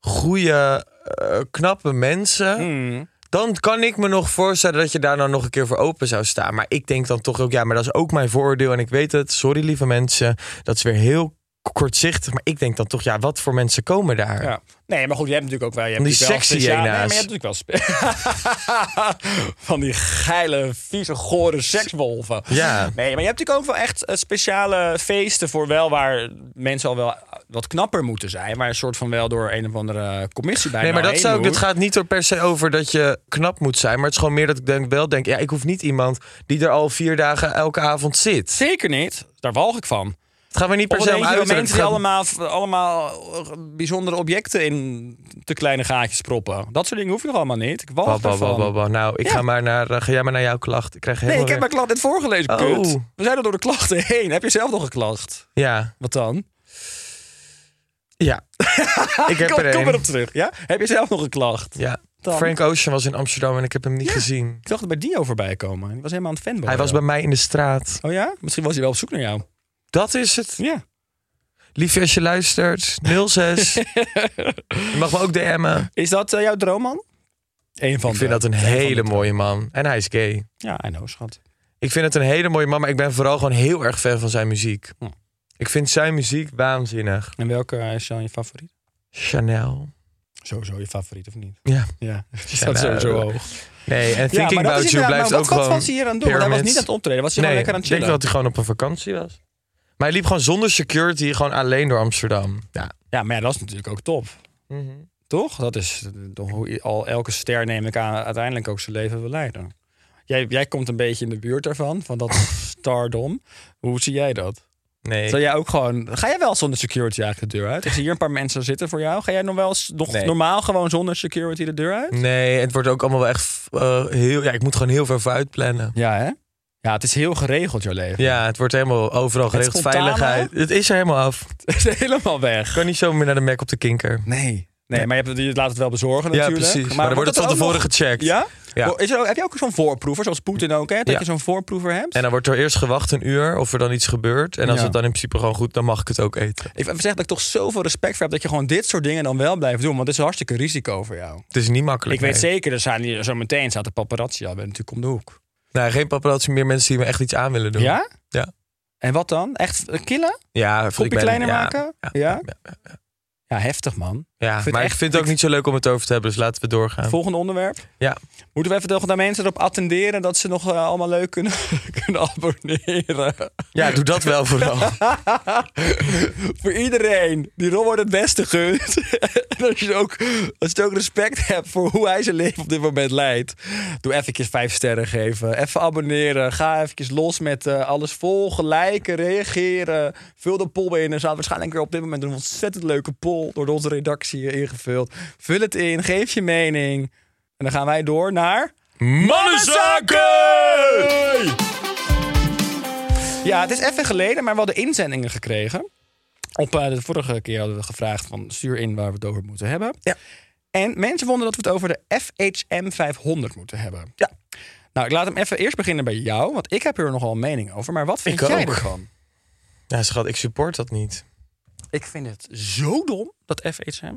Speaker 3: goede, eh, knappe mensen.
Speaker 2: Hmm.
Speaker 3: Dan kan ik me nog voorstellen dat je daar dan nog een keer voor open zou staan. Maar ik denk dan toch ook, ja, maar dat is ook mijn vooroordeel. En ik weet het, sorry lieve mensen, dat is weer heel kortzichtig. Maar ik denk dan toch, ja, wat voor mensen komen daar?
Speaker 2: Ja. Nee, maar goed, je hebt natuurlijk ook wel... Je hebt
Speaker 3: Die
Speaker 2: natuurlijk wel
Speaker 3: sexy
Speaker 2: speciaal- Nee,
Speaker 3: hyena's.
Speaker 2: maar je hebt natuurlijk wel... spe- van die geile, vieze, gore sekswolven.
Speaker 3: Ja.
Speaker 2: Nee, maar je hebt natuurlijk ook wel echt eh, speciale feesten voor wel... waar mensen al wel wat knapper moeten zijn. Waar een soort van wel door een of andere commissie bij
Speaker 3: Nee, maar dat
Speaker 2: heen
Speaker 3: zou ik.
Speaker 2: moet.
Speaker 3: Het gaat niet er per se over dat je knap moet zijn. Maar het is gewoon meer dat ik denk, wel denk. Ja, ik hoef niet iemand die er al vier dagen elke avond zit.
Speaker 2: Zeker niet. Daar walg ik van.
Speaker 3: Het gaat me niet per
Speaker 2: Of
Speaker 3: se
Speaker 2: een
Speaker 3: om
Speaker 2: eentje waar
Speaker 3: uiterlijk.
Speaker 2: mensen
Speaker 3: Het
Speaker 2: die
Speaker 3: gaat-
Speaker 2: allemaal, allemaal eh, bijzondere objecten in te kleine gaatjes proppen. Dat soort dingen hoef je nog allemaal niet. Ik walg
Speaker 3: Bah, bah,
Speaker 2: ervan.
Speaker 3: bah, bah, bah. Nou, ik
Speaker 2: Ja.
Speaker 3: ga maar naar. eh, ga jij maar naar jouw klacht. Ik krijg
Speaker 2: Nee,
Speaker 3: helemaal
Speaker 2: ik heb
Speaker 3: weer-
Speaker 2: mijn klacht net voorgelezen,
Speaker 3: Oh.
Speaker 2: kut. We zijn er door de klachten heen. Heb je zelf nog een klacht?
Speaker 3: Ja,
Speaker 2: Wat dan?
Speaker 3: ja. ik heb
Speaker 2: kom,
Speaker 3: er
Speaker 2: kom
Speaker 3: een.
Speaker 2: erop terug. Ja? Heb je zelf nog een klacht?
Speaker 3: Ja.
Speaker 2: Dan.
Speaker 3: Frank Ocean was in Amsterdam en ik heb hem niet gezien.
Speaker 2: Ik zag het bij Dio voorbij komen. Hij was helemaal aan het fanboy.
Speaker 3: Hij was bij mij in de straat.
Speaker 2: Oh ja? Misschien was hij wel op zoek naar jou.
Speaker 3: Dat is het.
Speaker 2: Ja.
Speaker 3: Liefje, als je luistert, 06. je mag me ook DM'en.
Speaker 2: Is dat eh, jouw droomman? Eén van
Speaker 3: Ik
Speaker 2: de-
Speaker 3: vind dat een
Speaker 2: van de-
Speaker 3: hele mooie man. En hij is gay.
Speaker 2: Ja, I know, schat.
Speaker 3: Ik vind het een hele mooie man, maar ik ben vooral gewoon heel erg fan van zijn muziek.
Speaker 2: Hm.
Speaker 3: Ik vind zijn muziek waanzinnig.
Speaker 2: En welke eh, is dan je favoriet?
Speaker 3: Chanel.
Speaker 2: Sowieso je favoriet, of niet?
Speaker 3: Ja.
Speaker 2: Ja, dat
Speaker 3: nou,
Speaker 2: staat sowieso
Speaker 3: dat-
Speaker 2: hoog.
Speaker 3: Nee, en
Speaker 2: maar
Speaker 3: Thinking
Speaker 2: dat
Speaker 3: About
Speaker 2: is
Speaker 3: You
Speaker 2: inderdaad-
Speaker 3: blijft
Speaker 2: maar
Speaker 3: ook
Speaker 2: wat- wat
Speaker 3: gewoon...
Speaker 2: was hij hier aan het doen? Want hij was
Speaker 3: Pyramids.
Speaker 2: niet aan het optreden, was hij
Speaker 3: nee,
Speaker 2: gewoon lekker aan het
Speaker 3: ik denk
Speaker 2: chillen.
Speaker 3: dat hij gewoon op een vakantie was. Maar hij liep gewoon zonder security, gewoon alleen door Amsterdam. Ja.
Speaker 2: Ja, maar ja, dat is natuurlijk ook top.
Speaker 3: Mhm.
Speaker 2: Toch? Dat is eh, toch hoe i- al elke ster, neem ik aan, uiteindelijk ook zijn leven wil leiden. Jij, jij komt een beetje in de buurt daarvan, van dat stardom. Hoe zie jij dat?
Speaker 3: Nee.
Speaker 2: Zou jij ook gewoon... Ga jij wel zonder security eigenlijk de deur uit? Ik zie hier een paar mensen zitten voor jou. Ga jij nog wel eens- nog
Speaker 3: Nee. Mm.
Speaker 2: normaal gewoon zonder security de deur uit?
Speaker 3: Nee, het wordt ook allemaal wel echt eh, heel... Ja, ik moet gewoon heel ver vooruit plannen.
Speaker 2: Ja, hè? Ja, het is heel geregeld, jouw leven.
Speaker 3: Ja, het wordt helemaal overal geregeld.
Speaker 2: spontane?
Speaker 3: Veiligheid. Het is er helemaal af.
Speaker 2: Het is helemaal weg.
Speaker 3: Ik kan niet zo meer naar de Mac op de kinker.
Speaker 2: Nee. Nee, maar je, hebt, je laat het wel bezorgen
Speaker 3: Ja,
Speaker 2: natuurlijk.
Speaker 3: precies. Maar, dan wordt het van
Speaker 2: ook nog-
Speaker 3: tevoren gecheckt.
Speaker 2: Ja?
Speaker 3: Ja.
Speaker 2: Is er ook- heb je ook zo'n voorproever, zoals Poetin ook, hè? Dat
Speaker 3: Ja.
Speaker 2: je zo'n voorproever hebt?
Speaker 3: En dan wordt er eerst gewacht een uur of er dan iets gebeurt. En als
Speaker 2: Ja.
Speaker 3: het dan in principe gewoon goed, dan mag ik het ook eten.
Speaker 2: Ik zeg dat ik toch zoveel respect voor heb dat je gewoon dit soort dingen dan wel blijft doen. Want het is een hartstikke risico voor jou.
Speaker 3: Het is niet makkelijk.
Speaker 2: Ik weet
Speaker 3: nee.
Speaker 2: zeker, er zijn hier, zo meteen staat de paparazzi al bij natuurlijk om de hoek.
Speaker 3: Nee, geen paparazzi meer mensen die me echt iets aan willen doen.
Speaker 2: Ja?
Speaker 3: Ja.
Speaker 2: En wat dan? Echt eh, killen?
Speaker 3: Ja, ik
Speaker 2: Kopje
Speaker 3: ben-
Speaker 2: kleiner
Speaker 3: ja,
Speaker 2: maken? Ja,
Speaker 3: Ja,
Speaker 2: Ja, heftig man.
Speaker 3: ja,
Speaker 2: vind
Speaker 3: maar
Speaker 2: echt-
Speaker 3: ik vind het ook
Speaker 2: ik-
Speaker 3: niet zo leuk om het over te hebben, dus laten we doorgaan.
Speaker 2: Volgende onderwerp.
Speaker 3: Ja,
Speaker 2: Moeten we even tegen de mensen erop attenderen dat ze nog eh, allemaal leuk kunnen, kunnen abonneren?
Speaker 3: ja doe dat wel vooral.
Speaker 2: Voor iedereen die Robert het beste gunt. en als je, ook, als je ook respect hebt voor hoe hij zijn leven op dit moment leidt. Doe even vijf sterren geven. Even abonneren. Ga even los met eh, alles volgen, liken, reageren. Vul de poll in. Er staat waarschijnlijk weer op dit moment een ontzettend leuke poll door onze redactie eh, ingevuld. Vul het in. Geef je mening. En dan gaan wij door naar...
Speaker 3: Mannenzaken!
Speaker 2: Ja, het is even geleden, maar we hadden inzendingen gekregen. Op eh, de vorige keer hadden we gevraagd van stuur in waar we het over moeten hebben.
Speaker 3: Ja.
Speaker 2: En mensen vonden dat we het over de FHM 500 moeten hebben.
Speaker 3: Ja.
Speaker 2: Nou, ik laat hem even eerst beginnen bij jou, want ik heb er nogal een mening over. Maar wat vind
Speaker 3: Ik
Speaker 2: jij
Speaker 3: ook.
Speaker 2: ervan?
Speaker 3: Ja, schat, ik support dat niet.
Speaker 2: Ik vind het zo dom, dat FHM.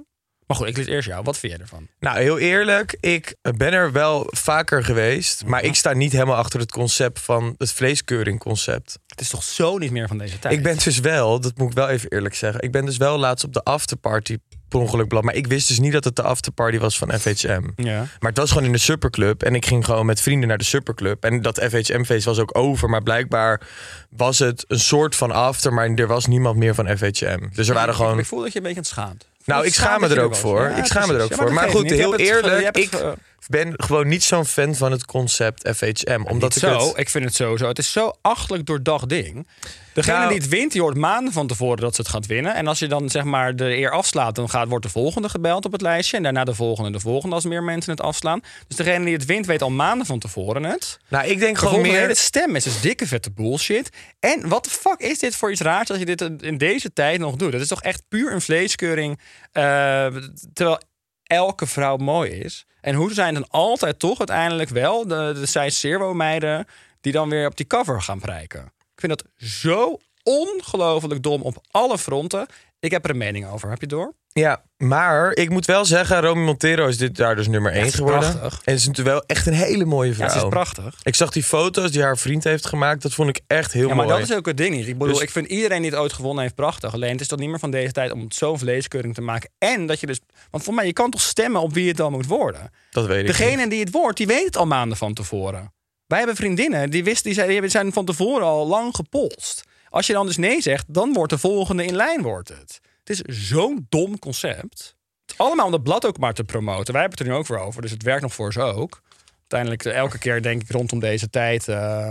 Speaker 2: Maar goed, ik lees eerst jou. Wat vind jij ervan?
Speaker 3: Nou, heel eerlijk, ik ben er wel vaker geweest, maar ik sta niet helemaal achter het concept van het vleeskeuring concept.
Speaker 2: Het is toch zo niet meer van deze tijd?
Speaker 3: Ik ben dus wel, dat moet ik wel even eerlijk zeggen. Ik ben dus wel laatst op de afterparty per ongeluk beland. Maar ik wist dus niet dat het de afterparty was van FHM.
Speaker 2: Ja.
Speaker 3: Maar het was gewoon in de superclub. En ik ging gewoon met vrienden naar de superclub. En dat FHM-feest was ook over. Maar blijkbaar was het een soort van after. Maar er was niemand meer van FHM. Dus er waren
Speaker 2: Ik
Speaker 3: gewoon...
Speaker 2: voel dat je een beetje aan het schaamt.
Speaker 3: Nou, ik schaam me
Speaker 2: dat je
Speaker 3: er ook
Speaker 2: was.
Speaker 3: voor.
Speaker 2: Ja,
Speaker 3: ik schaam me er
Speaker 2: precies.
Speaker 3: ook
Speaker 2: Ja,
Speaker 3: voor.
Speaker 2: dat
Speaker 3: Maar
Speaker 2: geeft
Speaker 3: goed,
Speaker 2: niet. Je
Speaker 3: heel
Speaker 2: hebt het ge-
Speaker 3: eerlijk.
Speaker 2: je hebt het
Speaker 3: Ik
Speaker 2: ge-
Speaker 3: ben gewoon niet zo'n fan van het concept FHM. Omdat
Speaker 2: Niet
Speaker 3: ik
Speaker 2: zo,
Speaker 3: het...
Speaker 2: ik vind het sowieso. Het is zo achtelijk doordacht ding. Degene
Speaker 3: Nou-
Speaker 2: die het wint, die hoort maanden van tevoren dat ze het gaat winnen. En als je dan zeg maar de eer afslaat, dan gaat, wordt de volgende gebeld op het lijstje. En daarna de volgende en de volgende als meer mensen het afslaan. Dus degene die het wint, weet al maanden van tevoren het.
Speaker 3: Nou, ik denk
Speaker 2: Gewoon
Speaker 3: gewoon
Speaker 2: meer... hele
Speaker 3: meer...
Speaker 2: stem is dus dikke vette bullshit. En wat de fuck is dit voor iets raars als je dit in deze tijd nog doet? Dat is toch echt puur een vleeskeuring. eh, terwijl elke vrouw mooi is. En hoe zijn dan altijd toch uiteindelijk wel de, de size zero meiden die dan weer op die cover gaan prijken? Ik vind dat zo ongelooflijk dom op alle fronten. Ik heb er een mening over. Heb je door?
Speaker 3: Ja, maar ik moet wel zeggen, Romy Montero is dit daar dus nummer 1
Speaker 2: ze is
Speaker 3: geworden.
Speaker 2: prachtig.
Speaker 3: En ze is natuurlijk wel echt een hele mooie
Speaker 2: Ja,
Speaker 3: vrouw.
Speaker 2: ze is prachtig.
Speaker 3: Ik zag die foto's die haar vriend heeft gemaakt. Dat vond ik echt heel
Speaker 2: Ja, maar
Speaker 3: mooi.
Speaker 2: dat is ook het ding. hier. Ik bedoel,
Speaker 3: Dus-
Speaker 2: ik vind iedereen die het ooit gewonnen heeft prachtig. Alleen het is dat niet meer van deze tijd om het zo'n vleeskeuring te maken. En dat je dus... Want voor mij, je kan toch stemmen op wie het dan moet worden?
Speaker 3: Dat weet ik niet.
Speaker 2: Degene die het wordt, die weet het al maanden van tevoren. Wij hebben vriendinnen, die, wisten, die, zijn, die hebben- zijn van tevoren al lang gepolst. Als je dan dus nee zegt, dan wordt de volgende in lijn wordt het. Het is zo'n dom concept. Het is Allemaal om dat blad ook maar te promoten. Wij hebben het er nu ook voor over, dus het werkt nog voor ze ook. Uiteindelijk, eh, elke keer denk ik rondom deze tijd... eh,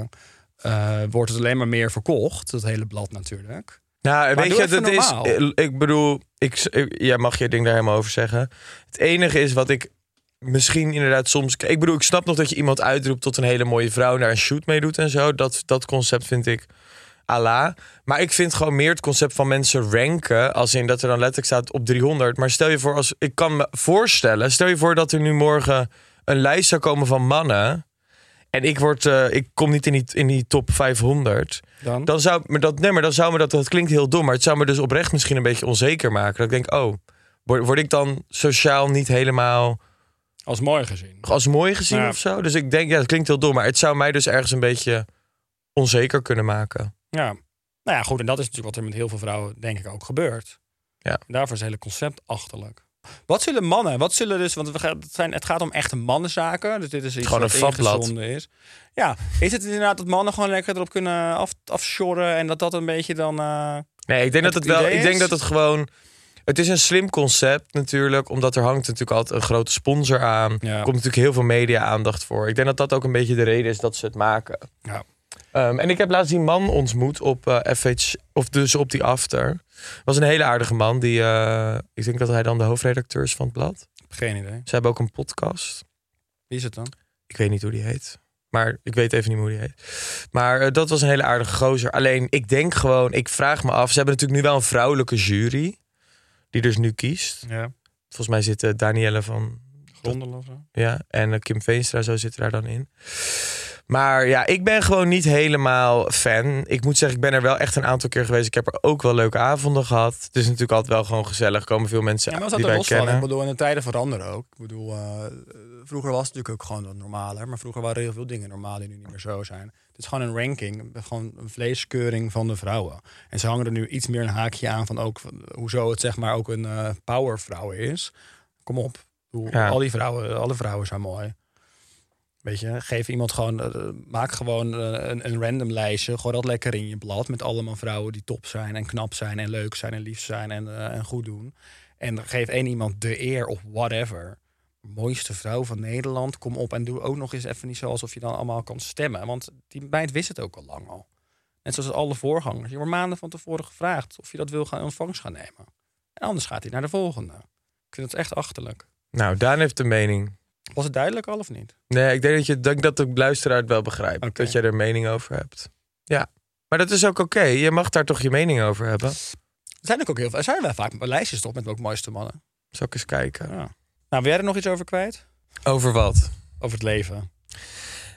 Speaker 2: eh, wordt het alleen maar meer verkocht, dat hele blad natuurlijk.
Speaker 3: Nou, weet
Speaker 2: doe
Speaker 3: je,
Speaker 2: even
Speaker 3: dat is.
Speaker 2: normaal.
Speaker 3: eh, Ik bedoel, ik, ik- jij mag je ding daar helemaal over zeggen. Het enige is wat ik misschien inderdaad soms. Ik bedoel, ik snap nog dat je iemand uitroept tot een hele mooie vrouw en daar een shoot mee doet en zo. Dat, dat concept vind ik. ala. Maar ik vind gewoon meer het concept van mensen ranken. Als in dat er dan letterlijk staat op 300. Maar stel je voor, als ik kan me voorstellen. Stel je voor dat er nu morgen een lijst zou komen van mannen. En ik, word, eh, ik kom niet in die, in die top 500.
Speaker 2: Dan?
Speaker 3: Dan zou me dat, nee, maar dan zou me dat, dat klinkt heel dom. Maar het zou me dus oprecht misschien een beetje onzeker maken. Dat ik denk, oh, word, word ik dan sociaal niet helemaal
Speaker 2: Als mooi gezien.
Speaker 3: als mooi gezien
Speaker 2: Ja.
Speaker 3: of zo? Dus ik denk, ja, dat klinkt heel dom. Maar het zou mij dus ergens een beetje onzeker kunnen maken.
Speaker 2: Ja. Nou ja, goed. En dat is natuurlijk wat er met heel veel vrouwen, denk ik, ook gebeurt.
Speaker 3: Ja.
Speaker 2: En daarvoor is het hele concept achterlijk. Wat zullen mannen, wat zullen dus, want we gaan, het, zijn, het gaat om echte mannenzaken. Dus dit is iets
Speaker 3: Gewoon
Speaker 2: wat
Speaker 3: een vakblad.
Speaker 2: ingezonden is. Ja, is het inderdaad dat mannen gewoon lekker erop kunnen af, afsjorren en dat dat een beetje dan... eh,
Speaker 3: Nee, ik denk
Speaker 2: Het
Speaker 3: dat het wel.
Speaker 2: idee
Speaker 3: Ik denk
Speaker 2: is-
Speaker 3: dat het gewoon. Het is een slim concept natuurlijk, omdat er hangt natuurlijk altijd een grote sponsor aan.
Speaker 2: Ja.
Speaker 3: Er komt natuurlijk heel veel media-aandacht voor. Ik denk dat dat ook een beetje de reden is dat ze het maken.
Speaker 2: ja.
Speaker 3: Ehm, en ik heb laatst die man ontmoet op eh, FH, of dus op die after. Was een hele aardige man. Die, eh, ik denk dat hij dan de hoofdredacteur is van het blad.
Speaker 2: Geen idee.
Speaker 3: Ze hebben ook een podcast.
Speaker 2: Wie is het dan?
Speaker 3: Ik weet niet hoe die heet. Maar ik weet even niet meer hoe die heet. Maar eh, dat was een hele aardige gozer. Alleen ik denk gewoon, ik vraag me af. Ze hebben natuurlijk nu wel een vrouwelijke jury. Die dus nu kiest.
Speaker 2: Ja,
Speaker 3: Volgens mij zitten Danielle van.
Speaker 2: Grondel of zo.
Speaker 3: Ja, en eh, Kim Veenstra, zo zit daar dan in. Maar ja, ik ben gewoon niet helemaal fan. Ik moet zeggen, ik ben er wel echt een aantal keer geweest. Ik heb er ook wel leuke avonden gehad. Het is natuurlijk altijd wel gewoon gezellig. Er komen veel mensen
Speaker 2: Ja, maar
Speaker 3: die
Speaker 2: dat er
Speaker 3: wij
Speaker 2: los van.
Speaker 3: kennen.
Speaker 2: Ik bedoel, en de tijden veranderen ook. Ik bedoel, eh, vroeger was het natuurlijk ook gewoon wat normaler. Maar vroeger waren er heel veel dingen normaal die nu niet meer zo zijn. Het is gewoon een ranking, gewoon een vleeskeuring van de vrouwen. En ze hangen er nu iets meer een haakje aan van ook van, hoezo het zeg maar ook een eh, powervrouw is. Kom op. Ik bedoel,
Speaker 3: Ja.
Speaker 2: Al die vrouwen, alle vrouwen zijn mooi. Weet je, geef iemand gewoon, eh, maak gewoon eh, een, een random lijstje. Gooi dat lekker in je blad met allemaal vrouwen die top zijn en knap zijn en leuk zijn en lief zijn en, eh, en goed doen. En dan geef één iemand de eer of whatever. Mooiste vrouw van Nederland, kom op en doe ook nog eens even niet zo alsof je dan allemaal kan stemmen. Want die meid wist het ook al lang al. Net zoals alle voorgangers. Je wordt maanden van tevoren gevraagd of je dat wil gaan in ontvangst gaan nemen. En anders gaat hij naar de volgende. Ik vind het echt achterlijk.
Speaker 3: Nou, Daan heeft een mening.
Speaker 2: Was het duidelijk al of niet?
Speaker 3: Nee, ik denk dat, je, dat, ik- dat de luisteraar het wel begrijpt.
Speaker 2: Oké.
Speaker 3: Dat jij er mening over hebt. Ja, maar dat is ook oké. Je mag daar toch je mening over hebben.
Speaker 2: Er zijn ook, ook heel veel. Er zijn wel vaak lijstjes toch met ook mooiste mannen.
Speaker 3: Zal ik eens kijken.
Speaker 2: Ja. Nou, wil jij er nog iets over kwijt?
Speaker 3: Over wat?
Speaker 2: Over het leven.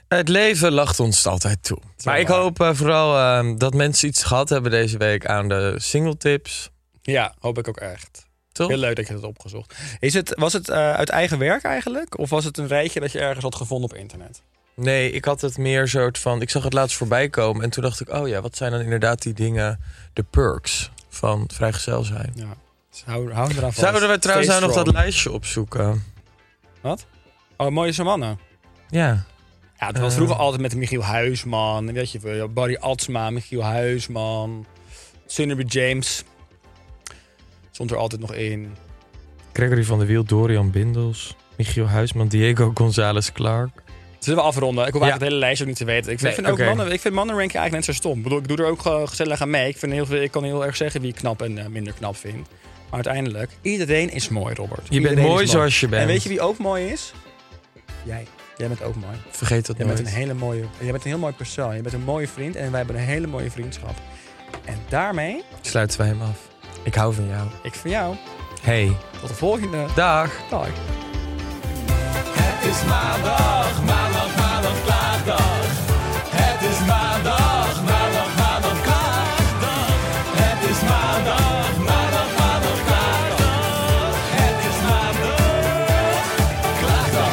Speaker 3: Het leven lacht ons altijd toe. Maar ik
Speaker 2: waar.
Speaker 3: hoop eh, vooral eh, dat mensen iets gehad hebben deze week aan de singletips.
Speaker 2: Ja, hoop ik ook echt.
Speaker 3: Toch?
Speaker 2: Heel leuk dat je dat hebt opgezocht. Is het, was het eh, uit eigen werk eigenlijk? Of was het een rijtje dat je ergens had gevonden op internet?
Speaker 3: Nee, ik had het meer soort van. Ik zag het laatst voorbij komen en toen dacht ik, oh ja, wat zijn dan inderdaad die dingen, de perks van vrijgezel zijn.
Speaker 2: Ja. Dus hou, hou eraan vast.
Speaker 3: Zouden we trouwens
Speaker 2: Stay
Speaker 3: nou nog dat
Speaker 2: strong.
Speaker 3: lijstje opzoeken?
Speaker 2: Wat? Oh, mooiste mannen.
Speaker 3: Ja.
Speaker 2: Ja, het was
Speaker 3: Eh.
Speaker 2: vroeger altijd met Michiel Huisman. Weet je, veel, Barry Atsma, Michiel Huisman. Sunderby James. Stond er altijd nog in.
Speaker 3: Gregory van der Wiel, Dorian Bindels. Michiel Huisman, Diego González Clark.
Speaker 2: Zullen we afronden? Ik hoef
Speaker 3: Ja.
Speaker 2: eigenlijk het hele lijstje ook niet te weten. Ik vind,
Speaker 3: Nee,
Speaker 2: ik vind ook
Speaker 3: oké.
Speaker 2: mannen, ik vind mannen ranken eigenlijk net zo stom. Ik bedoel, ik doe er ook eh, gezellig aan mee. Ik, vind heel veel, ik kan heel erg zeggen wie ik knap en eh, minder knap vind. Maar uiteindelijk, iedereen is mooi, Robert.
Speaker 3: bent
Speaker 2: Iedereen
Speaker 3: mooi
Speaker 2: is
Speaker 3: zoals je bent.
Speaker 2: En weet je wie ook mooi is? Jij. Jij bent ook mooi.
Speaker 3: Vergeet dat
Speaker 2: Jij
Speaker 3: nooit.
Speaker 2: bent een hele mooie. Jij bent een heel mooi persoon. Je bent een mooie vriend en wij hebben een hele mooie vriendschap. En daarmee,
Speaker 3: Sluiten wij hem af. Ik hou van jou.
Speaker 2: ik voor jou.
Speaker 3: Hey,
Speaker 2: Tot de volgende
Speaker 3: dag.
Speaker 2: dag.
Speaker 1: Het is maandag, maandag, maandag, klaagdag. Het is maandag, maandag, maandag, klaagdag. Het is maandag, maandag, maandag, klaagdag. Het is maandag, klaagdag.